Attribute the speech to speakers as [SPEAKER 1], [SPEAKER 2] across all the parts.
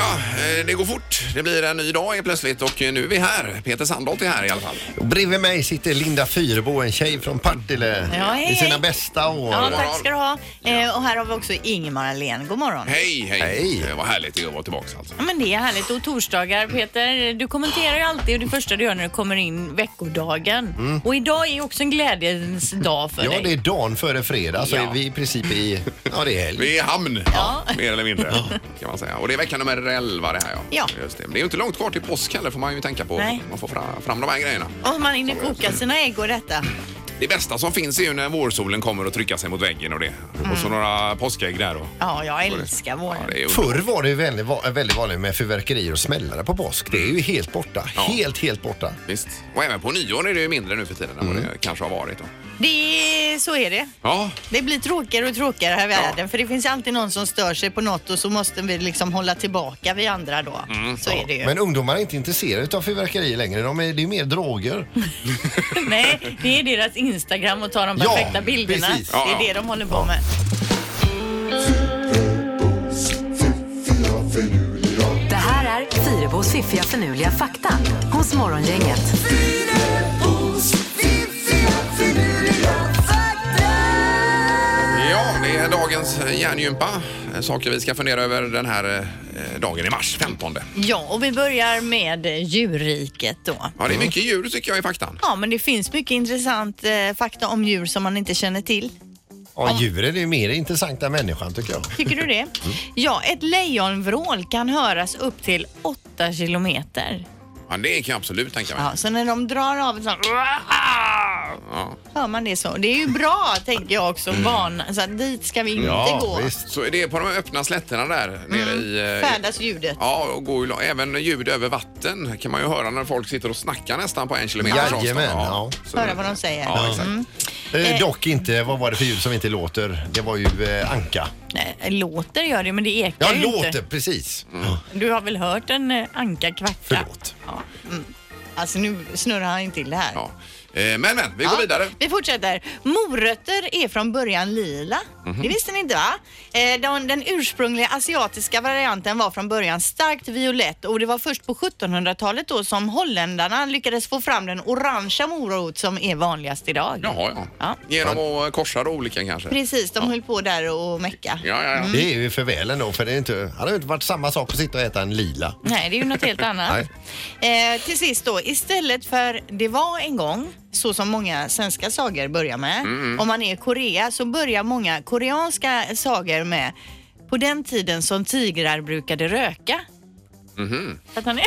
[SPEAKER 1] eh, det går fort. Det blir en ny dag helt plötsligt och eh, nu är vi här. Peter Sandholt är här i alla fall.
[SPEAKER 2] Bredvid mig sitter Linda Fyrebo, en tjej från Partille.
[SPEAKER 3] Ja, hej,
[SPEAKER 2] I sina
[SPEAKER 3] hej.
[SPEAKER 2] bästa år.
[SPEAKER 3] Ja, tack ska du ha. Eh, och här har vi också Ingemar Ahlén. God morgon.
[SPEAKER 1] Hej, hej.
[SPEAKER 2] Hej.
[SPEAKER 1] Eh, Vad härligt det är att vara tillbaka alltså.
[SPEAKER 3] Ja, men det är härligt. Och torsdagar, Peter, du kommenterar ju alltid och det första du gör när du kommer in veckodagen. Och idag är ju också en glädjens dag för
[SPEAKER 2] ja,
[SPEAKER 3] dig.
[SPEAKER 2] det är dagen före fredag så
[SPEAKER 3] Ja.
[SPEAKER 2] är vi i princip i... Ja, det är helg.
[SPEAKER 1] Vi är i hamn, mer eller mindre. kan man säga. Och det är vecka nummer 11 det här ja.
[SPEAKER 3] Ja.
[SPEAKER 1] Just det. Men det är ju inte långt kvar till påsk heller får man ju tänka på.
[SPEAKER 3] Nej.
[SPEAKER 1] Man får fram, fram de här grejerna.
[SPEAKER 3] Och man hinner koka sina ägg och detta.
[SPEAKER 1] Det bästa som finns är ju när vårsolen kommer och trycker sig mot väggen och det.
[SPEAKER 3] Mm.
[SPEAKER 1] Och så några påskägg där och...
[SPEAKER 3] Ja, jag älskar våren.
[SPEAKER 1] det är ju...
[SPEAKER 2] Förr var det ju väldigt, va- väldigt vanligt med fyrverkerier och smällare på påsk. Det är ju helt borta.
[SPEAKER 1] Ja.
[SPEAKER 2] Helt, helt borta.
[SPEAKER 1] Visst. Och även på nyår är det ju mindre nu för tiden än vad det kanske har varit. Då.
[SPEAKER 3] Det är, så är det.
[SPEAKER 1] Ja,
[SPEAKER 3] Det blir tråkigare och tråkigare här i världen för det finns alltid någon som stör sig på något och så måste vi liksom hålla tillbaka vi andra då. så är det ju.
[SPEAKER 2] Men ungdomar är inte intresserade av fyrverkerier längre. De är, det är mer droger.
[SPEAKER 3] Nej, det är deras Instagram och ta de
[SPEAKER 2] Ja,
[SPEAKER 3] perfekta bilderna.
[SPEAKER 2] precis.
[SPEAKER 3] Det
[SPEAKER 1] Ja,
[SPEAKER 3] är
[SPEAKER 1] ja.
[SPEAKER 3] det de håller på med.
[SPEAKER 4] Det här är Fyrabos fiffiga förnuliga fakta hos Morgongänget.
[SPEAKER 1] ja det är dagens hjärngympa. Eh, Saker vi ska fundera över den här eh, dagen i mars, 15.
[SPEAKER 3] Ja, och vi börjar med djurriket då.
[SPEAKER 1] Ja, det är mycket djur tycker jag i faktan.
[SPEAKER 3] Ja, men det finns mycket intressant eh, fakta om djur som man inte känner till.
[SPEAKER 2] Ja, djuren är ju mer intressanta än människan tycker jag.
[SPEAKER 3] Tycker du det? Ja, ett lejonvrål kan höras upp till 8 kilometer.
[SPEAKER 1] Ja, det kan jag absolut tänka mig.
[SPEAKER 3] Ja, så när de drar av så
[SPEAKER 1] Ja.
[SPEAKER 3] hör man det så. Det är ju bra, tänker jag också, barn. Så att dit ska vi inte gå.
[SPEAKER 2] Mm. visst.
[SPEAKER 1] Så är det på de öppna slätterna
[SPEAKER 3] Mm.
[SPEAKER 1] där nere i... eh,
[SPEAKER 3] Färdas ljudet.
[SPEAKER 1] Ja, och går ju, la- även ljud över vatten kan man ju höra när folk sitter och snackar nästan på en kilometer
[SPEAKER 2] Jajamän,
[SPEAKER 1] Så-
[SPEAKER 3] Höra vad de säger. Mm.
[SPEAKER 1] Ja, exakt.
[SPEAKER 2] Eh, dock inte, vad var det för ljud som inte låter? Det var ju eh, anka.
[SPEAKER 3] Nej, Låter gör det, men det ekar
[SPEAKER 2] Ja,
[SPEAKER 3] ju
[SPEAKER 2] låter,
[SPEAKER 3] inte.
[SPEAKER 2] precis.
[SPEAKER 1] Mm.
[SPEAKER 3] Du har väl hört en eh, anka kvacka?
[SPEAKER 2] Förlåt.
[SPEAKER 3] Ja. Mm. Alltså nu snurrar han in till det här.
[SPEAKER 1] Ja. Eh, Men, men, vi går
[SPEAKER 3] Ja,
[SPEAKER 1] vidare.
[SPEAKER 3] Vi fortsätter. Morötter är från början lila.
[SPEAKER 1] Mhm.
[SPEAKER 3] Det visste ni inte va? Eh, Den, den ursprungliga asiatiska varianten var från början starkt violett och det var först på 1700-talet då som holländarna lyckades få fram den orangea morot som är vanligast idag.
[SPEAKER 1] Jaha, ja.
[SPEAKER 3] Ja.
[SPEAKER 1] Genom att eh, korsa då olika kanske.
[SPEAKER 3] Precis, Mm. de höll på där och mecka.
[SPEAKER 1] Ja, ja, ja.
[SPEAKER 2] Det är ju för väl ändå, för det är inte, hade ju inte varit samma sak att sitta och äta en lila.
[SPEAKER 3] Nej, det är ju något helt annat. Eh, till sist då, istället för det var en gång, så som många svenska sagor börjar med.
[SPEAKER 1] Mm,
[SPEAKER 3] Om man är i Korea så börjar många koreanska sagor med på den tiden som tigrar brukade röka. Fattar ni?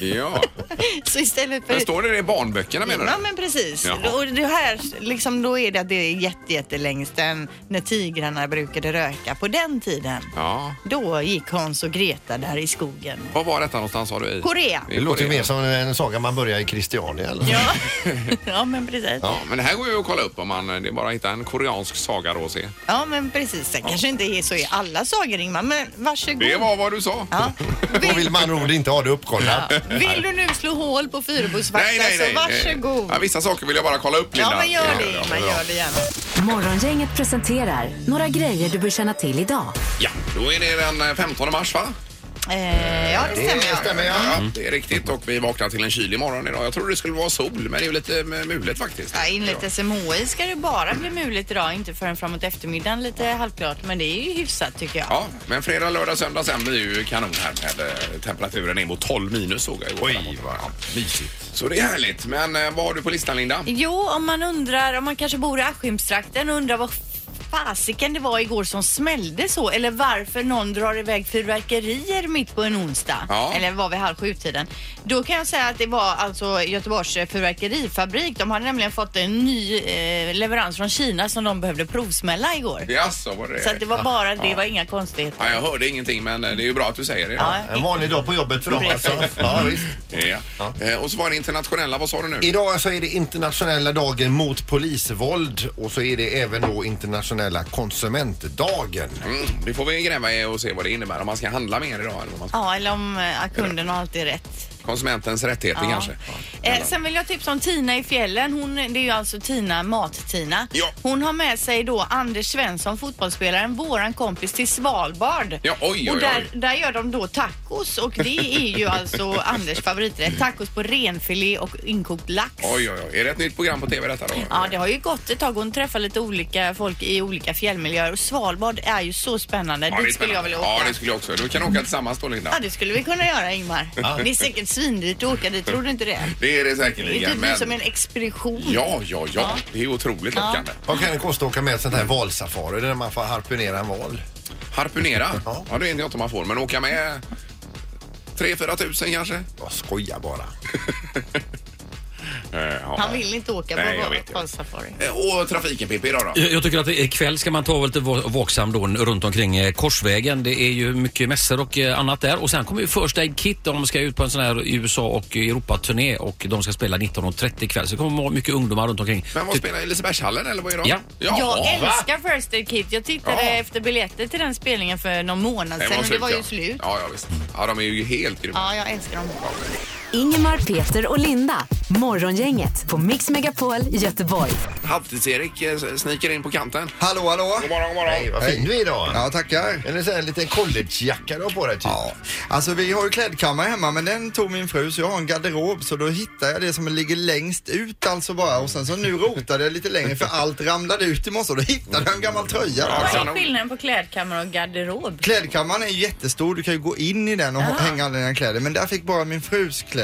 [SPEAKER 1] Mhm. ja.
[SPEAKER 3] Så istället för...
[SPEAKER 1] Men står det det i barnböckerna menar du?
[SPEAKER 3] Ja men precis.
[SPEAKER 1] Jaha.
[SPEAKER 3] Och det här, liksom, då är det att det är jätte, jättelänge sedan när tigrarna brukade röka på den tiden.
[SPEAKER 1] Ja.
[SPEAKER 3] Då gick Hans och Greta där i skogen.
[SPEAKER 1] Vad var detta någonstans sa du? I?
[SPEAKER 3] Korea.
[SPEAKER 1] I
[SPEAKER 2] Det låter ju
[SPEAKER 1] Korea.
[SPEAKER 2] mer som en saga man börjar i Christiania. Eller?
[SPEAKER 3] Ja, ja men precis.
[SPEAKER 1] Ja, men det här går ju att kolla upp om man... Det är bara att hitta en koreansk saga då och se.
[SPEAKER 3] Ja, men precis. Det kanske inte är så i alla sagor, Ingmar, men varsågod.
[SPEAKER 1] Det var vad du sa.
[SPEAKER 3] Mm. Ja.
[SPEAKER 2] Då vill man nog inte ha det uppkollat.
[SPEAKER 3] Vill du nu slå hål på Fyrebos fakta
[SPEAKER 1] Nej, nej, nej.
[SPEAKER 3] så varsågod.
[SPEAKER 1] Ja, vissa saker vill jag bara kolla upp, Linda.
[SPEAKER 3] Ja, men gör det,
[SPEAKER 1] ja,
[SPEAKER 3] Ingmar.
[SPEAKER 1] ja.
[SPEAKER 3] Gör det gärna.
[SPEAKER 4] Morgongänget presenterar några grejer du bör känna till idag.
[SPEAKER 1] Ja, då är det den eh, 15 mars, va?
[SPEAKER 3] Eh, ja, det
[SPEAKER 2] Det
[SPEAKER 3] stämmer. ja.
[SPEAKER 2] stämmer ja. Mm.
[SPEAKER 1] Ja, det är riktigt. Och vi vaknar till en kylig imorgon idag. Jag trodde det skulle vara sol, men det är ju lite eh, mulet faktiskt.
[SPEAKER 3] Ja, enligt SMHI ska det bara bli muligt idag, inte förrän framåt eftermiddagen lite halvklart. Men det är ju hyfsat tycker jag.
[SPEAKER 1] Ja, men fredag, lördag, söndag sen blir ju kanon här med eh, temperaturen ner mot 12 minus såg jag igår. Oj, vad mysigt. Så det är härligt. Men eh, vad har du på listan, Linda?
[SPEAKER 3] Jo, om man undrar, om man kanske bor i Askimstrakten och undrar vad fasiken det var igår som smällde så eller varför någon drar iväg fyrverkerier mitt på en onsdag.
[SPEAKER 1] Ja.
[SPEAKER 3] Eller var vid halv sju-tiden. Då kan jag säga att det var alltså Göteborgs fyrverkerifabrik. De hade nämligen fått en ny eh, leverans från Kina som de behövde provsmälla igår.
[SPEAKER 1] Jaså, var det
[SPEAKER 3] Så att det var bara det,
[SPEAKER 1] Ja.
[SPEAKER 3] var inga konstigheter.
[SPEAKER 1] Ja, jag hörde ingenting, men eh, det är ju bra att du säger det.
[SPEAKER 3] Ja.
[SPEAKER 2] En vanlig dag på jobbet för dem alltså. Ja, visst.
[SPEAKER 1] Ja. Eh, Och så var det internationella. Vad sa du nu?
[SPEAKER 2] Idag så är det internationella dagen mot polisvåld och så är det även då internationella konsumentdagen.
[SPEAKER 1] Mm, det får vi gräva i och se vad det innebär. Om man ska handla mer idag eller vad man ska...
[SPEAKER 3] Ja, eller om eh, kunden har alltid rätt.
[SPEAKER 1] konsumentens rättigheter
[SPEAKER 3] Ja.
[SPEAKER 1] kanske.
[SPEAKER 3] Eh, sen vill jag tipsa om Tina i fjällen. Hon, det är ju alltså Tina, Mat-Tina.
[SPEAKER 1] Ja.
[SPEAKER 3] Hon har med sig då Anders Svensson, fotbollsspelaren, våran kompis till Svalbard.
[SPEAKER 1] Ja, oj, oj,
[SPEAKER 3] och
[SPEAKER 1] oj.
[SPEAKER 3] där, där gör de då tacos och det är ju alltså Anders favoriträtt. Tacos på renfilé och inkokt lax.
[SPEAKER 1] Mm. Oj, oj, oj. Är det ett nytt program på TV detta då?
[SPEAKER 3] Ja, det har ju gått ett tag. Hon träffar lite olika folk i olika fjällmiljöer och Svalbard är ju så spännande.
[SPEAKER 1] Ja,
[SPEAKER 3] Dit
[SPEAKER 1] är
[SPEAKER 3] skulle jag
[SPEAKER 1] spännande.
[SPEAKER 3] vilja åka.
[SPEAKER 1] Ja, det skulle jag också. Vi kan åka tillsammans då, Linda.
[SPEAKER 3] Ja, det skulle vi kunna göra Ingmar. Det är säkert svindyrt att åka dit, tror du inte det?
[SPEAKER 1] Det är det
[SPEAKER 3] Det är
[SPEAKER 1] säkerligen.
[SPEAKER 3] typ som en expedition.
[SPEAKER 1] Ja, ja, ja. Det är otroligt lockande.
[SPEAKER 2] Vad kan det kosta att åka med ett sånt här valsafari där man får harpunera en val?
[SPEAKER 1] Harpunera?
[SPEAKER 2] Ja.
[SPEAKER 1] Ja, det vet jag inte om man får, men åka med 3-4 tusen kanske?
[SPEAKER 2] Jag skojar bara.
[SPEAKER 1] Eh, ja.
[SPEAKER 3] Han vill inte åka på
[SPEAKER 1] Nej, jag vet, jag
[SPEAKER 3] Val- Safari.
[SPEAKER 1] Eh, Och trafiken, Pippi, idag då?
[SPEAKER 5] Jag, jag tycker att det- ikväll ska man ta lite va- vaksam då runt omkring eh, Korsvägen. Det är ju mycket mässor och eh, annat där. Och sen kommer ju First Aid Kit. De ska ut på en sån här USA och Europaturné och de ska spela 19.30 ikväll. Så det kommer vara mycket ungdomar runt omkring.
[SPEAKER 1] Men vad spelar Lisebergshallen eller vad är det?
[SPEAKER 5] Ja.
[SPEAKER 3] Jag
[SPEAKER 1] va?
[SPEAKER 3] älskar First Aid Kit. Jag tittade
[SPEAKER 1] Ja.
[SPEAKER 3] efter biljetter till den spelningen för någon månad sedan och det var
[SPEAKER 1] ja.
[SPEAKER 3] ju slut.
[SPEAKER 1] Ja, ja, visst. Ja, de är ju helt grymma.
[SPEAKER 3] Ja, jag älskar dem.
[SPEAKER 4] Ingemar, Peter och Linda. Morgongänget på Mix Megapol Göteborg.
[SPEAKER 1] Halvtids-Erik eh, sniker in på kanten.
[SPEAKER 6] Hallå, hallå!
[SPEAKER 1] God morgon, god morgon.
[SPEAKER 2] Hej, vad fin du är idag.
[SPEAKER 6] Ja, tackar.
[SPEAKER 2] Eller så här en liten collegejacka du har på dig typ.
[SPEAKER 6] Ja, alltså vi har ju klädkammare hemma men den tog min fru så jag har en garderob så då hittar jag det som ligger längst ut alltså bara och sen så nu rotade jag lite längre för allt ramlade ut i morse och då hittade jag en gammal tröja.
[SPEAKER 1] Ja.
[SPEAKER 3] Vad är skillnaden på klädkammare och garderob?
[SPEAKER 6] Klädkammaren är ju jättestor, du kan ju gå in i den och hänga alla dina kläder men där fick bara min frus kläder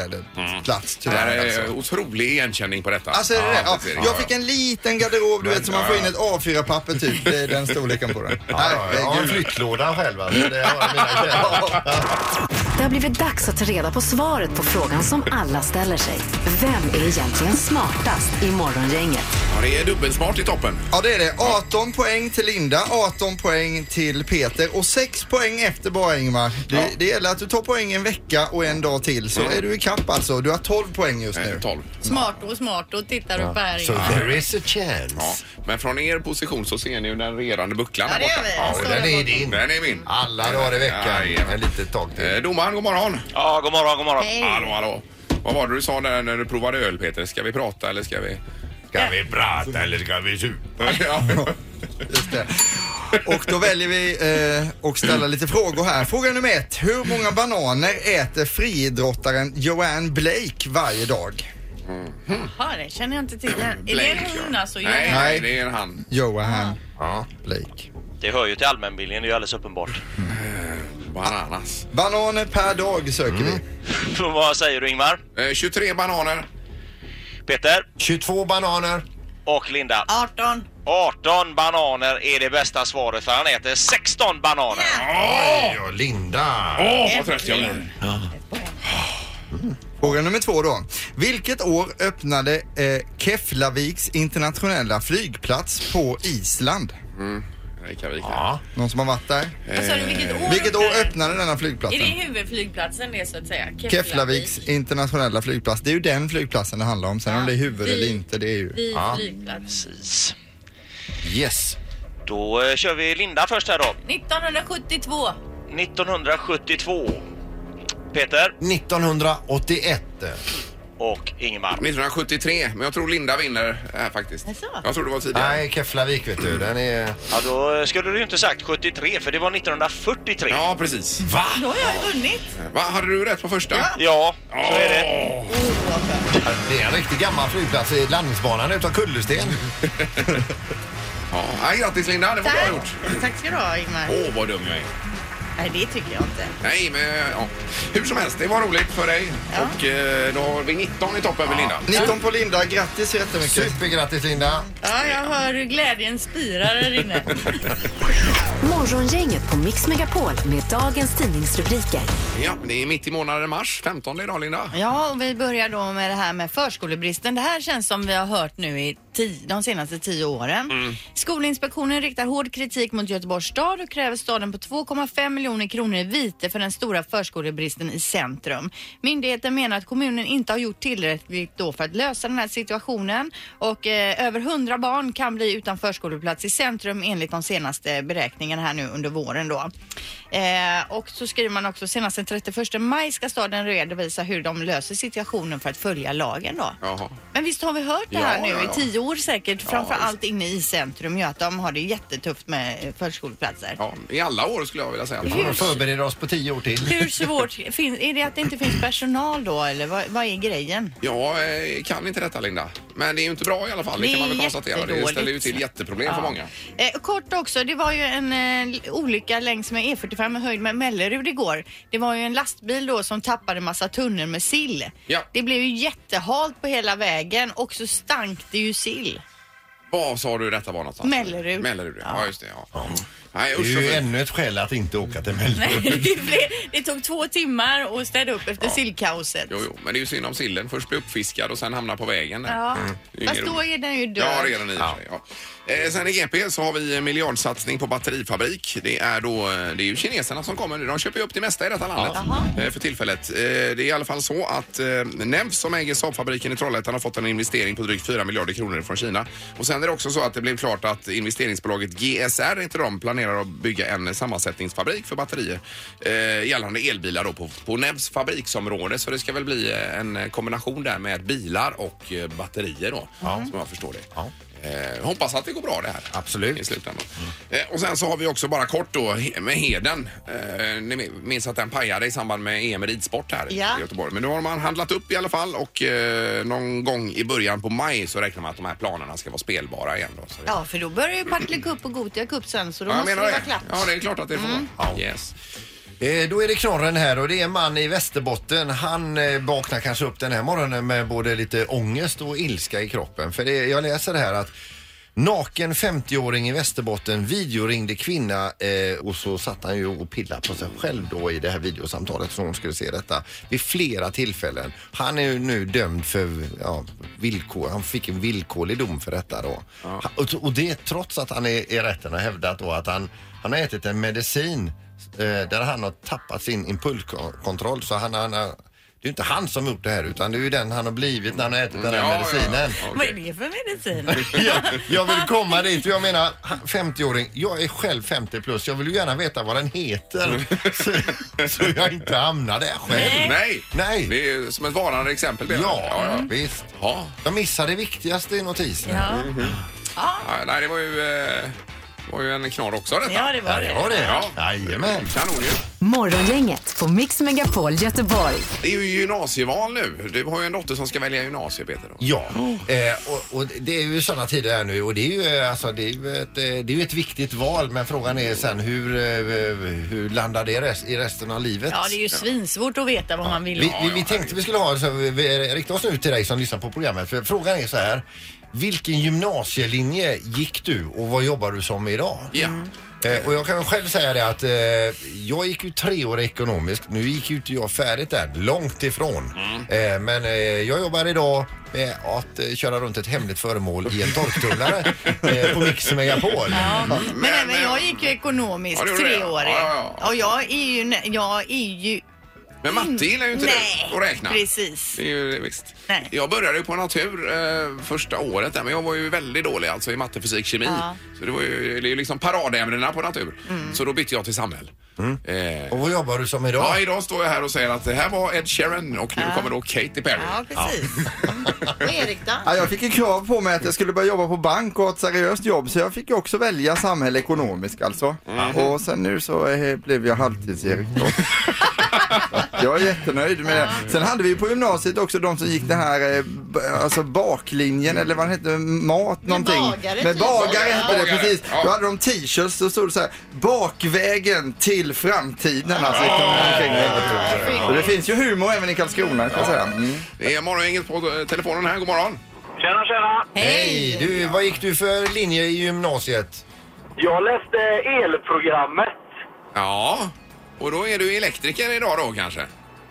[SPEAKER 6] plats
[SPEAKER 1] Det här
[SPEAKER 6] tyvärr.
[SPEAKER 1] är
[SPEAKER 6] Alltså.
[SPEAKER 1] eh, otrolig igenkänning på detta.
[SPEAKER 6] Alltså är det det? Ja,
[SPEAKER 1] halvtids-Erik.
[SPEAKER 6] jag fick en liten garderob du vet som man får in ett A4-papper typ. Det är den storleken på den.
[SPEAKER 2] Ja, ja, jag har en
[SPEAKER 6] Herregud.
[SPEAKER 2] flyttlåda själv alltså. Det har jag i mina kläder.
[SPEAKER 4] Det har blivit dags att ta reda på svaret på frågan som alla ställer sig. Vem är egentligen smartast i Morgongänget?
[SPEAKER 1] Ja, det är dubbelsmart i toppen.
[SPEAKER 6] Ja det är det. 18 poäng till Linda, 18 poäng till Peter och 6 poäng efter bara Ingmar. Det, det gäller att du tar poäng en vecka och en dag till så är du i kapp alltså. Du har 12 poäng just
[SPEAKER 1] Eh,
[SPEAKER 6] nu.
[SPEAKER 1] 12.
[SPEAKER 3] Smart och smart och tittar upp här.
[SPEAKER 2] So there is a chance.
[SPEAKER 1] Ja. Men från er position så ser ni ju den regerande bucklan
[SPEAKER 3] Ja,
[SPEAKER 1] där
[SPEAKER 3] det gör
[SPEAKER 1] borta.
[SPEAKER 3] vi.
[SPEAKER 1] Ja,
[SPEAKER 3] Den
[SPEAKER 2] Och
[SPEAKER 3] står
[SPEAKER 2] den
[SPEAKER 3] där
[SPEAKER 2] är
[SPEAKER 3] borta.
[SPEAKER 2] din.
[SPEAKER 1] Den är min.
[SPEAKER 2] Alla dagar i veckan.
[SPEAKER 1] Jajamän.
[SPEAKER 2] Ett litet tag till.
[SPEAKER 1] Eh, Domaren, god morgon.
[SPEAKER 7] Ja, god morgon, god morgon.
[SPEAKER 3] Hej.
[SPEAKER 1] Hallå, hallå. Vad var det du sa där när du provade öl, Peter? Ska vi prata eller ska vi...
[SPEAKER 2] Ska vi prata eller ska vi supa?
[SPEAKER 1] Ja.
[SPEAKER 6] Just det. Och då väljer vi eh, att ställa lite frågor här. Fråga nummer ett. Hur många bananer äter friidrottaren Joanne Blake varje dag?
[SPEAKER 3] Jaha, det känner jag inte till. Är det
[SPEAKER 1] Blake,
[SPEAKER 3] en hon
[SPEAKER 1] ja.
[SPEAKER 3] alltså?
[SPEAKER 1] Nej,
[SPEAKER 3] Ja.
[SPEAKER 1] nej, det är en han.
[SPEAKER 6] Joanne Blake.
[SPEAKER 7] Det hör ju till allmänbildningen, det är ju alldeles uppenbart.
[SPEAKER 1] Bananas.
[SPEAKER 6] Bananer per dag söker
[SPEAKER 8] Mm.
[SPEAKER 6] vi.
[SPEAKER 7] Vad säger du Ingmar?
[SPEAKER 1] Eh, 23 bananer.
[SPEAKER 7] Peter
[SPEAKER 2] 22 bananer.
[SPEAKER 7] och Linda.
[SPEAKER 3] 18.
[SPEAKER 7] 18 bananer är det bästa svaret för han äter 16 bananer.
[SPEAKER 2] Oj, och Linda.
[SPEAKER 1] Åh, vad trött jag blir.
[SPEAKER 6] Fråga nummer två då. Vilket år öppnade eh, Keflaviks internationella flygplats på Island?
[SPEAKER 1] Reykjavik.
[SPEAKER 2] Ja.
[SPEAKER 6] Någon som har varit där?
[SPEAKER 3] Vad sa du, vilket år?
[SPEAKER 6] Vilket år
[SPEAKER 3] öppnade den?
[SPEAKER 6] öppnade denna
[SPEAKER 3] Är det
[SPEAKER 6] flygplatsen?
[SPEAKER 3] huvudflygplatsen det så att säga?
[SPEAKER 6] Keflaviks internationella flygplats. Det är ju den flygplatsen det handlar om. Sen om det är huvud eller inte, det är ju...
[SPEAKER 3] Vid flygplats.
[SPEAKER 7] Precis.
[SPEAKER 2] Yes.
[SPEAKER 7] Då eh, kör vi Linda först här då.
[SPEAKER 3] 1972.
[SPEAKER 1] Ah.
[SPEAKER 7] 1972. Peter
[SPEAKER 2] 1981.
[SPEAKER 7] och Ingmar.
[SPEAKER 1] 1973, men jag tror Linda vinner här faktiskt.
[SPEAKER 3] Jaså?
[SPEAKER 1] Jag tror det var tidigare.
[SPEAKER 2] Nej, Keflavik vet du. Den är...
[SPEAKER 7] Ja, då eh, skulle du ju inte sagt 73 för det var 1943. Ja,
[SPEAKER 1] Ja, precis.
[SPEAKER 3] Då har jag vunnit.
[SPEAKER 1] Va, hade du rätt på första?
[SPEAKER 7] så är det.
[SPEAKER 2] Det är en riktigt gammal flygplats i landningsbanan utav kullersten.
[SPEAKER 1] Ja. Ja, grattis Linda, det var bra gjort.
[SPEAKER 3] Tack ska du ha Ingmar.
[SPEAKER 1] Åh, vad dum jag är.
[SPEAKER 3] Nej, det tycker jag inte.
[SPEAKER 1] Nej, men ja. hur som helst, det var roligt för dig. Och eh, då har vi 19 i toppen med Linda.
[SPEAKER 6] 19 på Linda, grattis så jättemycket.
[SPEAKER 2] Supergrattis Linda.
[SPEAKER 3] Ja, jag hör hur glädjen spirar här inne.
[SPEAKER 4] Morgongänget på Mix Megapol med dagens tidningsrubriker.
[SPEAKER 1] Ja, det är mitt i månaden mars, 15 idag Linda.
[SPEAKER 3] Ja, och vi börjar då med det här med förskolebristen. Det här känns som vi har hört nu i tio, de senaste tio åren. Skolinspektionen riktar hård kritik mot Göteborgs stad och kräver staden på 2,5 miljoner kronor i vite för den stora förskolebristen i centrum. Myndigheten menar att kommunen inte har gjort tillräckligt då för att lösa den här situationen och eh, över 100 barn kan bli utan förskoleplats i centrum enligt de senaste beräkningarna här nu under våren då. Eh, och så skriver man också senast den 31 maj ska staden redovisa hur de löser situationen för att följa lagen då.
[SPEAKER 1] Jaha.
[SPEAKER 3] Men visst har vi hört det här
[SPEAKER 1] Ja,
[SPEAKER 3] nu
[SPEAKER 1] ja, ja.
[SPEAKER 3] i tio år säkert, framförallt inne i centrum ju att de har det jättetufft med eh, förskoleplatser.
[SPEAKER 1] Ja, I alla år skulle jag vilja säga.
[SPEAKER 2] Vi får förbereda oss på tio år till.
[SPEAKER 3] Hur svårt, fin, är det att det inte finns personal då eller vad, vad är grejen?
[SPEAKER 1] Jag eh, kan inte detta Linda. Men det är ju inte bra i alla fall. Det,
[SPEAKER 3] Det
[SPEAKER 1] kan man väl
[SPEAKER 3] är
[SPEAKER 1] konstatera. Det
[SPEAKER 3] jättedåligt.
[SPEAKER 1] ställer ju till jätteproblem för många.
[SPEAKER 3] Eh, kort också, det var ju en eh, olycka längs med E45 i höjd med Mellerud igår. Det var ju en lastbil då som tappade massa tunnor med sill.
[SPEAKER 1] Ja.
[SPEAKER 3] Det blev ju jättehalt på hela vägen och så stank det ju sill.
[SPEAKER 1] Vad sa du detta var någonstans?
[SPEAKER 3] Mellerud.
[SPEAKER 1] Mellerud, ja, ja just det. Ja. Nej,
[SPEAKER 2] Det
[SPEAKER 1] usch,
[SPEAKER 2] är ju
[SPEAKER 1] usch.
[SPEAKER 2] ännu ett skäl att inte åka till
[SPEAKER 3] Nej,
[SPEAKER 2] Mellerud.
[SPEAKER 3] det, blev, det tog två timmar att städa upp efter sillkaoset.
[SPEAKER 1] Jo, jo, men det är ju synd om sillen. Först blir uppfiskad och sen hamnar på vägen. där.
[SPEAKER 3] Ja.
[SPEAKER 1] Mm. Det är ju
[SPEAKER 3] Fast
[SPEAKER 1] ingen
[SPEAKER 3] då
[SPEAKER 1] rolig-
[SPEAKER 3] är den ju död.
[SPEAKER 1] Ja, redan i och för sig. Ja. Eh, sen i GP så har vi en miljardsatsning på batterifabrik. Det är, då, eh, det är ju kineserna som kommer nu. De köper ju upp det mesta i detta landet eh, för tillfället. Eh, det är i alla fall så att eh, NEF som äger Saabfabriken i Trollhättan har fått en investering på drygt 4 miljarder kronor från Kina. Och sen är det också så att det blev klart att investeringsbolaget GSR, inte de, planerar att bygga en sammansättningsfabrik för batterier eh, gällande elbilar då på, på NEFs fabriksområde. Så det ska väl bli eh, en kombination där med bilar och eh, batterier då, som jag förstår det.
[SPEAKER 2] Ja.
[SPEAKER 1] Eh, hoppas att det går bra det här.
[SPEAKER 2] Absolut.
[SPEAKER 1] I slutändan. Eh, och sen så har vi också bara kort då he- med Heden. Eh, ni minns att den pajade i samband med EM i ridsport här
[SPEAKER 3] Ja.
[SPEAKER 1] i Göteborg. Men nu har man handlat upp i alla fall och eh, någon gång i början på maj så räknar man att de här planerna ska vara spelbara igen då. Så det-
[SPEAKER 3] Ja, för då börjar ju Partille Cup och Gothia Cup sen så då
[SPEAKER 1] Ja, jag
[SPEAKER 3] måste det
[SPEAKER 1] menar
[SPEAKER 3] vara
[SPEAKER 1] det.
[SPEAKER 3] klart. Mm.
[SPEAKER 1] Ja, det är klart att det får vara. Yes.
[SPEAKER 2] Eh, Då är det knorren här och det är en man i Västerbotten. Han eh, vaknar kanske upp den här morgonen med både lite ångest och ilska i kroppen. För det, jag läser här att Naken 50-åring i Västerbotten videoringde kvinna eh, och så satt han ju och pillade på sig själv då i det här videosamtalet för hon skulle se detta vid flera tillfällen. Han är ju nu dömd för ja, villkor, han fick en villkorlig dom för detta då. Ha- Och, och det trots att han är i rätten har hävdat då att han, han har ätit en medicin eh, där han har tappat sin impulskontroll så han, han har det är ju inte han som gjort det här utan det är ju den han har blivit när han har ätit den här
[SPEAKER 1] Ja, ja, ja.
[SPEAKER 2] medicinen.
[SPEAKER 3] Vad är det för medicin?
[SPEAKER 2] jag, jag vill komma dit. för Jag menar, han- 50-åring, jag är själv 50 plus. Jag vill ju gärna veta vad den heter så, så jag inte hamnar där själv.
[SPEAKER 1] Nej.
[SPEAKER 2] Nej.
[SPEAKER 1] Det är ju som ett varnande exempel. menar jag.
[SPEAKER 2] Ja, visst.
[SPEAKER 1] Ja.
[SPEAKER 2] Jag missade det viktigaste i notisen.
[SPEAKER 3] Ja.
[SPEAKER 1] Ja, Nej, det var ju, eh, var ju en knorr också detta.
[SPEAKER 3] ja, det var
[SPEAKER 2] det
[SPEAKER 3] det.
[SPEAKER 2] var det.
[SPEAKER 1] Ja.
[SPEAKER 2] Jajamän.
[SPEAKER 1] Kanon ju.
[SPEAKER 4] Morgongänget på Mix Megapol Göteborg.
[SPEAKER 1] Det är ju gymnasieval nu. Du har ju en dotter som ska välja gymnasie, Peter.
[SPEAKER 3] Mm.
[SPEAKER 1] Då.
[SPEAKER 2] Ja, eh, och, och det är ju sådana tider här nu och det är ju, eh, alltså, det är ju, ett, eh, det är ju ett viktigt val men frågan är sen hur, eh, hur landar det res- i resten av livet?
[SPEAKER 3] Ja, det är ju svinsvårt att veta vad man vill
[SPEAKER 2] Vi,
[SPEAKER 3] ha.
[SPEAKER 2] vi, vi tänkte vi skulle ha, så vi, vi riktar oss nu till dig som lyssnar på programmet. För frågan är så här. Vilken gymnasielinje gick du och vad jobbar du som idag?
[SPEAKER 1] Ja.
[SPEAKER 2] Eh, och jag kan väl själv säga det att eh, jag gick ju tre år ekonomiskt. Nu gick ju inte jag färdigt där, långt ifrån. Eh, men eh, jag jobbar idag med att eh, köra runt ett hemligt föremål i en torktumlare eh, på Mix Megapol. Ja.
[SPEAKER 3] Men,
[SPEAKER 1] Men-
[SPEAKER 3] även
[SPEAKER 1] men-
[SPEAKER 3] jag gick ju
[SPEAKER 1] Ja,
[SPEAKER 3] ekonomiskt
[SPEAKER 1] det gjorde det.
[SPEAKER 3] treårig.
[SPEAKER 1] Ja, ja, ja.
[SPEAKER 3] Och jag är ju... nä- Jag är ju
[SPEAKER 1] Men matte gillar ju inte
[SPEAKER 3] Nej,
[SPEAKER 1] du att räkna.
[SPEAKER 3] precis.
[SPEAKER 1] Det är ju visst.
[SPEAKER 3] Nej.
[SPEAKER 1] Jag började ju på natur eh, första året där, men jag var ju väldigt dålig alltså i matte, fysik, kemi.
[SPEAKER 3] Ja. Mm.
[SPEAKER 1] Så det var ju, det är ju liksom paradämnena på natur. Så då bytte jag till samhäll. Eh,
[SPEAKER 2] Och vad jobbar du som idag?
[SPEAKER 1] ja, idag står jag här och säger att det här var Ed Sheeran och nu kommer då Katy Perry.
[SPEAKER 3] Ja, precis. Mm. Och Erik då?
[SPEAKER 6] Ja, jag fick ju krav på mig att jag skulle börja jobba på bank och ha ett seriöst jobb så jag fick ju också välja samhälle ekonomisk alltså.
[SPEAKER 1] Mhm.
[SPEAKER 6] Och sen nu så eh, blev jag halvtids-Erik då. Jag är jättenöjd med det. Sen hade vi ju på gymnasiet också de som gick det här eh, b- alltså baklinjen eller vad det hette, mat någonting.
[SPEAKER 3] bagare,
[SPEAKER 6] Med
[SPEAKER 3] typ.
[SPEAKER 6] bagare hette det
[SPEAKER 1] Bagare,
[SPEAKER 6] precis.
[SPEAKER 1] ja.
[SPEAKER 6] Då hade de t-shirts så stod det så här bakvägen till framtiden alltså. kom det omkring. Och det finns ju humor även i Karlskrona ska jag säga. Mm.
[SPEAKER 1] Det är morgongänget på eh, telefonen här. God morgon.
[SPEAKER 8] Tjena, tjena!
[SPEAKER 2] Hej! Du, vad gick du för linje i gymnasiet?
[SPEAKER 8] Jag läste elprogrammet.
[SPEAKER 1] Ja, och då är du elektriker idag då kanske?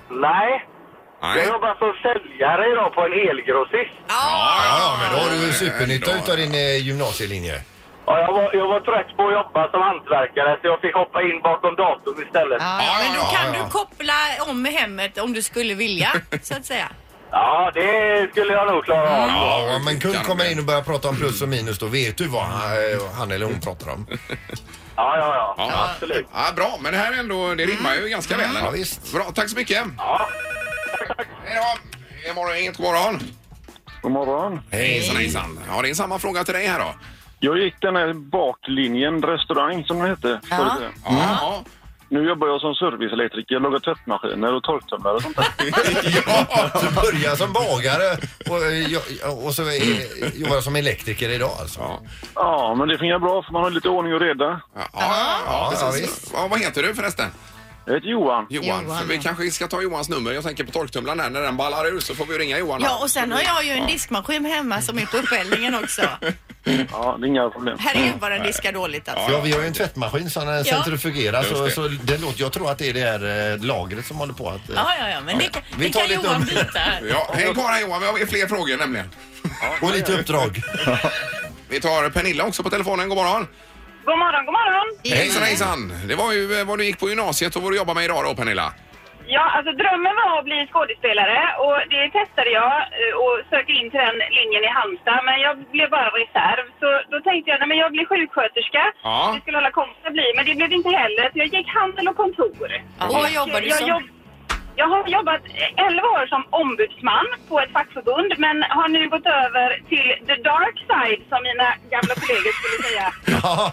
[SPEAKER 8] Nej,
[SPEAKER 1] Nej.
[SPEAKER 8] Jag jobbar som säljare idag på en elgrossist.
[SPEAKER 2] Ja, ja, men då har du ju supernytta utav din eh, gymnasielinje.
[SPEAKER 8] Ja, jag, var, jag var trött på att jobba som hantverkare så jag fick hoppa in bakom datorn istället.
[SPEAKER 1] Ja, ja,
[SPEAKER 9] Ja, men då
[SPEAKER 1] ja,
[SPEAKER 9] kan
[SPEAKER 2] ja.
[SPEAKER 9] du koppla om hemmet om du skulle vilja, så att säga.
[SPEAKER 8] Ja, det skulle jag nog klara av.
[SPEAKER 2] Ja, men kund
[SPEAKER 1] kan
[SPEAKER 2] kommer
[SPEAKER 1] det.
[SPEAKER 2] in och börjar prata om plus och minus, då vet du vad han, eh, han eller hon pratar om.
[SPEAKER 8] Ja, ja, ja.
[SPEAKER 1] Ja.
[SPEAKER 8] Absolut.
[SPEAKER 1] Ja, bra, men det här är ändå, det rimmar ju ganska väl. ändå.
[SPEAKER 2] Mm. Ja, visst.
[SPEAKER 1] Bra, tack så mycket.
[SPEAKER 8] Ja.
[SPEAKER 1] Hej då! Imorgon, inget god morgon.
[SPEAKER 8] God morgon.
[SPEAKER 1] Hejsan hejsan. Ja, det är samma fråga till dig här då.
[SPEAKER 8] Jag gick den här baklinjen restaurang som det hette
[SPEAKER 3] Ja.
[SPEAKER 8] förut.
[SPEAKER 2] Mm.
[SPEAKER 1] Ja. Ja.
[SPEAKER 8] Nu jobbar jag som serviceelektriker, lagar tvättmaskiner och torktumlare och sånt där.
[SPEAKER 2] Ja, du börjar som bagare och, eh, jo- och så eh, jobbar som elektriker idag alltså.
[SPEAKER 1] Ja.
[SPEAKER 8] Ja, men det fungerar bra för man har lite ordning och reda.
[SPEAKER 1] Ja, ja, ja,
[SPEAKER 2] Ja,
[SPEAKER 1] precis.
[SPEAKER 2] visst.
[SPEAKER 1] Ja, vad heter du förresten?
[SPEAKER 8] Jag heter Johan.
[SPEAKER 1] Johan.
[SPEAKER 3] Johan,
[SPEAKER 1] För vi
[SPEAKER 3] ja.
[SPEAKER 1] kanske ska ta Johans nummer. Jag tänker på torktumlaren här. När den ballar ur så får vi ringa Johan.
[SPEAKER 9] Ja, och sen har jag ju en diskmaskin hemma som är på uppeldningen också.
[SPEAKER 8] Ja, det är inga problem.
[SPEAKER 9] Herregud vad den diskar dåligt alltså.
[SPEAKER 2] Ja, vi har ju en tvättmaskin som den centrifugerar
[SPEAKER 1] Just
[SPEAKER 2] så,
[SPEAKER 1] det.
[SPEAKER 2] så det låter, jag tror att det är det här eh, lagret som håller på att... eh,
[SPEAKER 9] Ja, ja, ja, men det kan,
[SPEAKER 2] Vi
[SPEAKER 9] det
[SPEAKER 2] tar
[SPEAKER 9] kan
[SPEAKER 2] lite
[SPEAKER 9] Johan
[SPEAKER 2] om-
[SPEAKER 9] byta. här.
[SPEAKER 1] Ja, häng kvar här Johan. Vi har fler frågor nämligen.
[SPEAKER 2] Och lite uppdrag.
[SPEAKER 1] Vi tar Pernilla också på telefonen. God morgon.
[SPEAKER 10] God morgon, god morgon.
[SPEAKER 1] Hejsan hejsan. Det var ju eh, vad du gick på gymnasiet och vad du jobbar med idag då Pernilla.
[SPEAKER 10] Ja, alltså drömmen var att bli skådespelare och det testade jag eh, och sökte in till den linjen i Halmstad men jag blev bara reserv. Så då tänkte jag, nej men jag blir sjuksköterska.
[SPEAKER 1] Ja.
[SPEAKER 10] Det skulle alla kompisar bli, men det blev det inte heller. Så jag gick handel och kontor.
[SPEAKER 9] Ja, och vad jobbar du
[SPEAKER 10] jag,
[SPEAKER 9] som?
[SPEAKER 10] jobb- jag har jobbat eh, 11 år som ombudsman på ett fackförbund men har nu gått över till the dark side som mina gamla kollegor skulle säga.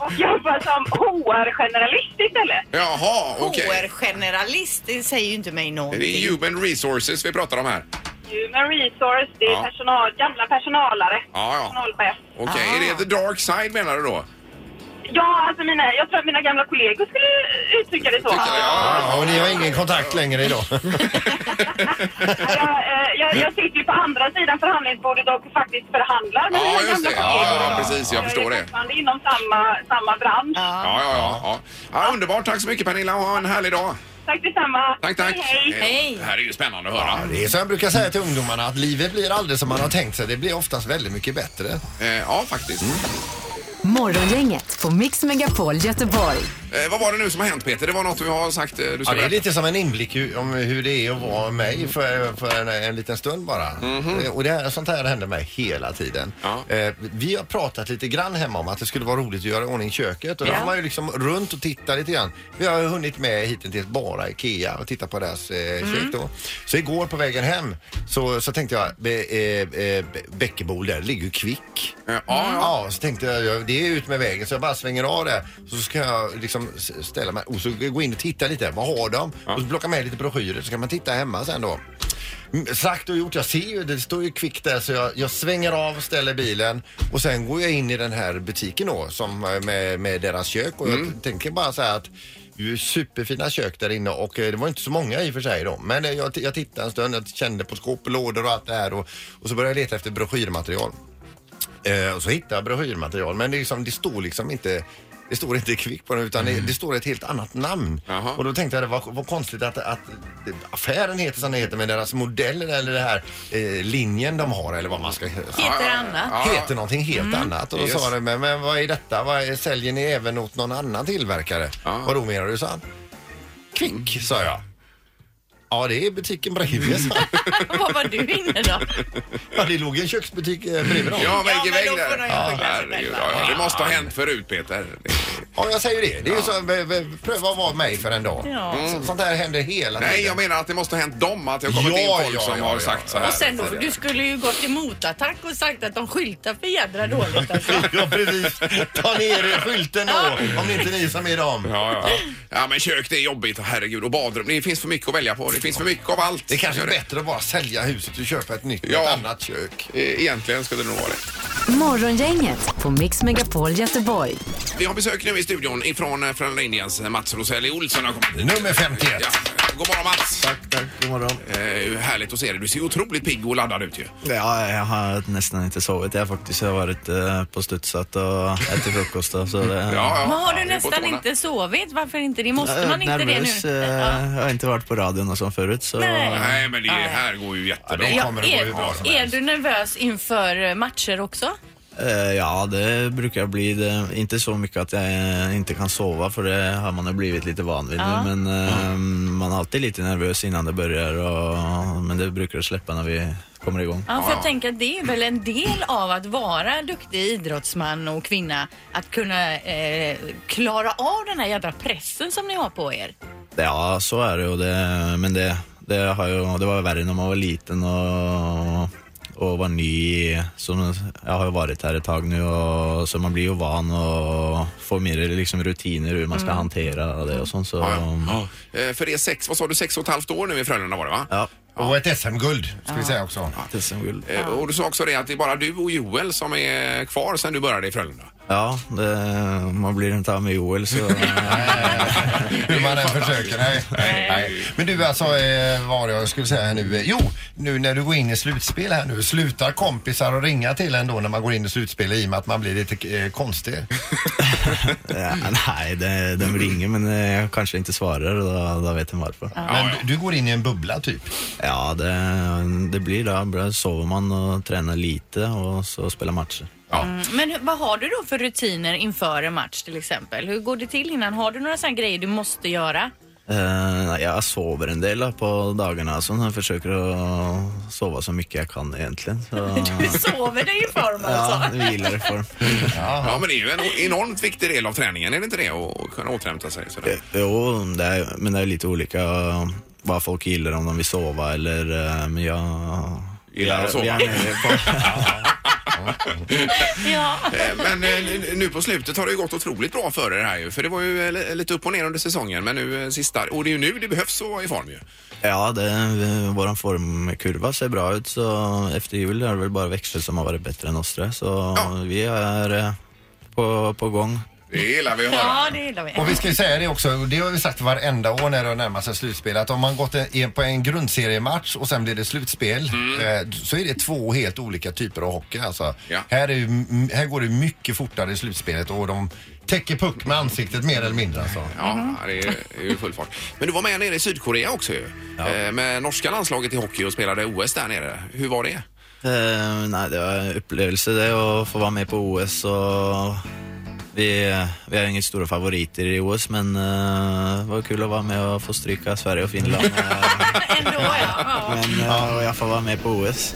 [SPEAKER 10] Och jobbar som HR-generalist istället.
[SPEAKER 1] Jaha, okej.
[SPEAKER 3] HR-generalist, det säger ju inte mig
[SPEAKER 1] Det är
[SPEAKER 3] någonting.
[SPEAKER 1] human resources vi pratar om här.
[SPEAKER 10] Human resource, det är
[SPEAKER 1] Ja.
[SPEAKER 10] personal, gamla personalare.
[SPEAKER 1] Ja, ja.
[SPEAKER 10] Personalchef.
[SPEAKER 1] Okej, är det the dark side menar du då?
[SPEAKER 10] Ja, alltså mina, jag tror att mina gamla kollegor skulle uttrycka det så.
[SPEAKER 1] Tycker jag.
[SPEAKER 2] Ja, och ni har ingen kontakt längre idag.
[SPEAKER 10] Jag, eh, jag, jag sitter ju på andra sidan förhandlingsbordet och faktiskt förhandlar med
[SPEAKER 1] Ja,
[SPEAKER 10] mina
[SPEAKER 1] just
[SPEAKER 10] gamla
[SPEAKER 1] det. Ja,
[SPEAKER 10] kollegor.
[SPEAKER 1] ja, precis, jag förstår
[SPEAKER 10] är
[SPEAKER 1] det.
[SPEAKER 10] fortfarande inom samma, samma bransch.
[SPEAKER 1] Ja, ja, ja. ja. ja underbart. Tack så mycket Pernilla och ha en härlig dag.
[SPEAKER 10] Tack detsamma.
[SPEAKER 1] Tack, tack.
[SPEAKER 10] Hej, hej.
[SPEAKER 9] Hej.
[SPEAKER 1] Det här är ju spännande att höra.
[SPEAKER 2] Det är som jag brukar säga till ungdomarna att livet blir aldrig som man har tänkt sig. Det blir oftast väldigt mycket bättre.
[SPEAKER 1] Eh, ja, faktiskt.
[SPEAKER 4] Morgongänget på Mix Megapol Göteborg.
[SPEAKER 1] Eh, vad var det nu som har hänt Peter? Det var något du har sagt eh, du
[SPEAKER 2] Ja,
[SPEAKER 1] ska
[SPEAKER 2] det är
[SPEAKER 1] berätta.
[SPEAKER 2] lite som en inblick hu- om hur det är att vara mig för, för en, en liten stund bara. Eh, Och det här, sånt här händer mig hela tiden.
[SPEAKER 1] Mhm. Ja.
[SPEAKER 2] Eh, vi har pratat lite grann hemma om att det skulle vara roligt att göra i ordning köket och då
[SPEAKER 9] Ja.
[SPEAKER 2] har man ju liksom runt och tittat lite grann. Vi har ju hunnit med hittills bara IKEA och titta på deras eh,
[SPEAKER 1] Mm.
[SPEAKER 2] kök då. Så igår på vägen hem så, så tänkte jag, be, eh, eh, Bäckebol där ligger ju Kvick.
[SPEAKER 1] Eh, ja, ja.
[SPEAKER 2] Mm. Ja, så tänkte jag, jag, det är ut med vägen så jag bara svänger av det. Så ska jag liksom s- ställa mig och så gå in och titta lite. Vad har de? Och så plocka med lite broschyrer så kan man titta hemma sen då. Mm, Sagt och gjort, jag ser ju, det står ju kvickt där så jag, jag svänger av, ställer bilen och sen går jag in i den här butiken då som eh, med, med deras kök och
[SPEAKER 1] Mm.
[SPEAKER 2] jag tänker bara så här att det är ju superfina kök där inne och eh, det var inte så många i och för sig då. Men eh, jag, t- jag tittade en stund, jag kände på skåp och lådor och allt det här och, och så började jag leta efter broschyrmaterial. Eh, och så hittade jag broschyrmaterial men det, är liksom, det står liksom inte det står inte kvick på den utan det, det står ett helt annat namn.
[SPEAKER 1] Mm. Jaha.
[SPEAKER 2] Och då tänkte jag det var, var konstigt att, att affären heter som den heter men deras modeller eller den här eh, linjen de har eller vad man ska säga.
[SPEAKER 9] Heter Anna.
[SPEAKER 1] Ja. Mm.
[SPEAKER 2] Heter någonting helt annat. Och då
[SPEAKER 1] Yes.
[SPEAKER 2] sa de, men, men vad är detta? Vad är, säljer ni även åt någon annan tillverkare?
[SPEAKER 1] Ja. Mm.
[SPEAKER 2] Vadå menar du? sa han. Kvick, sa jag. Ja, det är butiken bredvid. sa han.
[SPEAKER 9] Vad var du inne då?
[SPEAKER 2] ja, det låg en köksbutik eh, bredvid dem.
[SPEAKER 1] Ja, vägg i
[SPEAKER 9] men
[SPEAKER 1] vägg
[SPEAKER 9] då får
[SPEAKER 1] där.
[SPEAKER 9] de ju skylla
[SPEAKER 1] Ja,
[SPEAKER 9] sig
[SPEAKER 1] herregud,
[SPEAKER 9] själva.
[SPEAKER 1] ja, ja. Det måste ha hänt förut Peter. Det-
[SPEAKER 2] Ja, jag säger det. Det är ju så, v- v- pröva att vara mig för en dag. Så, sånt här händer hela
[SPEAKER 1] Nej, jag
[SPEAKER 2] tiden.
[SPEAKER 1] menar att det måste ha hänt dem att det har kommit
[SPEAKER 2] Ja,
[SPEAKER 1] in folk
[SPEAKER 2] ja,
[SPEAKER 1] som
[SPEAKER 2] ja,
[SPEAKER 1] har
[SPEAKER 2] ja.
[SPEAKER 1] sagt så här.
[SPEAKER 9] Och sen då, du skulle ju gått i motattack och sagt att de skyltar för jädra dåligt alltså.
[SPEAKER 2] Ja, precis. Ta ner er skylten då, om det inte är ni som är dem.
[SPEAKER 1] Ja, ja. ja, men kök det är jobbigt. Och Herregud, och badrum. Det finns för mycket att välja på. Det finns för mycket av allt.
[SPEAKER 2] Det kanske är
[SPEAKER 1] Gör det.
[SPEAKER 2] bättre att bara sälja huset och köpa ett nytt,
[SPEAKER 1] Ja.
[SPEAKER 2] ett annat kök.
[SPEAKER 1] E- Egentligen skulle det nog vara det.
[SPEAKER 4] Morgongänget på Mix Megapol Göteborg.
[SPEAKER 1] Vi har besök nu i studion ifrån eh, Frölunda Indians. Mats Roselli Olsson har kommit hit.
[SPEAKER 2] Nummer 51.
[SPEAKER 1] Ja. God morgon Mats! Tack,
[SPEAKER 6] tack. God morgon.
[SPEAKER 1] Eh, härligt att se dig. Du ser otroligt pigg och laddad ut ju.
[SPEAKER 6] Ja, jag har nästan inte sovit. Jag har faktiskt varit eh, på studsat och ätit frukost. och Så det,
[SPEAKER 3] Men har du nästan inte sovit? Varför inte det? Måste man inte
[SPEAKER 6] nervös,
[SPEAKER 3] det nu?
[SPEAKER 6] eh, Jag har inte varit på radion och så förut. Så...
[SPEAKER 3] Nej.
[SPEAKER 1] Nej, men det här går ju jättebra.
[SPEAKER 6] det kommer att gå
[SPEAKER 3] är,
[SPEAKER 6] hur bra som
[SPEAKER 3] är du nervös inför eh, matcher också?
[SPEAKER 6] Eh, Ja, det brukar bli det. Inte så mycket att jag eh, inte kan sova för det har man ju blivit lite van vid
[SPEAKER 3] Ja.
[SPEAKER 6] nu. Men eh, man är alltid lite nervös innan det börjar. Och, men det brukar släppa när vi kommer igång.
[SPEAKER 3] Ja, för jag tänker att det är väl en del av att vara duktig idrottsman och kvinna. Att kunna eh, klara av den här jädra pressen som ni har på er.
[SPEAKER 6] Ja, så är det ju. Det, men det, det, har ju, det var värre när man var liten och, och var ny. Som, jag har ju varit här ett tag nu, och, så man blir ju van och får mer liksom, rutiner hur man ska
[SPEAKER 1] Mm.
[SPEAKER 6] hantera det och sånt. Så,
[SPEAKER 1] Eh, För det är sex, vad sa du, sex och ett halvt år nu i Frölunda var det va?
[SPEAKER 6] Ja.
[SPEAKER 2] Och ett SM-guld ska vi säga också.
[SPEAKER 6] Ett SM-guld.
[SPEAKER 1] Eh, Och du sa också det att det är bara du och Joel som är kvar sen du började i Frölunda.
[SPEAKER 6] Ja, det, man blir inte av med Joel så...
[SPEAKER 2] Hur man än försöker. Nej. Nej. Men du alltså, eh, vad var det jag skulle säga här nu? Eh, Jo, nu när du går in i slutspel här nu, slutar kompisar att ringa till en då när man går in i slutspel i och med att man blir lite eh, konstig?
[SPEAKER 6] Ja, nej, det, de ringer men eh, jag kanske inte svarar och då, då vet jag varför.
[SPEAKER 2] Men du, du går in i en bubbla typ?
[SPEAKER 6] Ja, det, det blir det. Då sover man och tränar lite och så spelar matcher.
[SPEAKER 3] Mm, Men hur- vad har du då för rutiner inför en match till exempel? Hur går det till innan? Har du några sådana grejer du måste göra?
[SPEAKER 6] Eh, jag sover en del då, på dagarna, så jag försöker att sova så mycket jag kan egentligen. Så,
[SPEAKER 3] Du sover dig i form alltså?
[SPEAKER 6] ja, vilar i form.
[SPEAKER 1] Ja, men det är ju en enormt viktig del av träningen, är det inte det? Och och kunna återhämta sig sådär.
[SPEAKER 6] Jo, det är, men det är lite olika eh, vad folk gillar, om de vill sova eller... eh, Men jag...
[SPEAKER 1] Gillar
[SPEAKER 6] jag-
[SPEAKER 1] att sova.
[SPEAKER 6] jag är nere på-
[SPEAKER 3] Ja.
[SPEAKER 1] Eh, Men eh, n- nu på slutet har det ju gått otroligt bra för er här ju. För det var ju eh, li- lite upp och ner under säsongen. Men nu eh, sista, och det är ju nu det behövs att vara i form ju.
[SPEAKER 6] Ja, det, vår formkurva ser bra ut så efter jul är det väl bara Växjö som har varit bättre än oss tror jag. Så vi är eh, på, på gång.
[SPEAKER 1] Det gillar vi att höra.
[SPEAKER 3] Ja, det gillar vi.
[SPEAKER 2] Och vi ska ju säga det också, och det har vi sagt varenda år när det närmar sig slutspel, att om man gått en- på en grundseriematch och sen blir det slutspel eh, så är det två helt olika typer av hockey alltså. Här, är, ju m- här går det mycket fortare i slutspelet och de täcker puck med ansiktet mer eller mindre alltså.
[SPEAKER 1] Ja, det är det är ju full fart. Men du var med nere i Sydkorea också ju. Eh, Med norska landslaget i hockey och spelade OS där nere. Hur var det?
[SPEAKER 6] Eh, nej, det var en upplevelse det att få vara med på OS och vi, vi är inga stora favoriter i OS men eh, det var kul att vara med och få stryka Sverige och Finland. men eh, och jag får vara med på OS.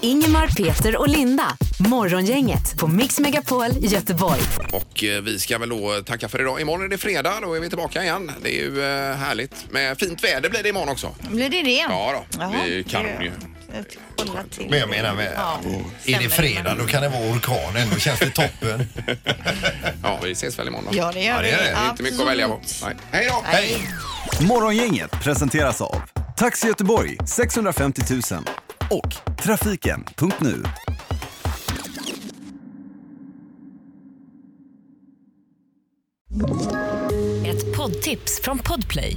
[SPEAKER 11] Ingemar, Peter och Linda. Morgongänget på Mix Megapol Göteborg.
[SPEAKER 1] Och eh, vi ska väl då tacka för idag. Imorgon är det fredag, då är vi tillbaka igen. Det är ju eh, härligt. Med fint väder blir det imorgon också.
[SPEAKER 12] Blir det det?
[SPEAKER 1] Ja då,
[SPEAKER 12] Jaha,
[SPEAKER 1] det är ju kanon ju.
[SPEAKER 12] Kolla till.
[SPEAKER 2] Men jag menar, med,
[SPEAKER 12] Ja,
[SPEAKER 2] är det
[SPEAKER 12] stämmer.
[SPEAKER 2] fredag då kan det vara orkanen, då känns det toppen.
[SPEAKER 1] ja, vi ses väl imorgon då.
[SPEAKER 12] Ja, det gör
[SPEAKER 1] det.
[SPEAKER 12] vi.
[SPEAKER 1] är inte mycket att välja på. Nej. Hej då!
[SPEAKER 12] Hej.
[SPEAKER 13] Morgongänget presenteras av Taxi Göteborg 650 000 och Trafiken.nu.
[SPEAKER 4] Ett poddtips från Podplay.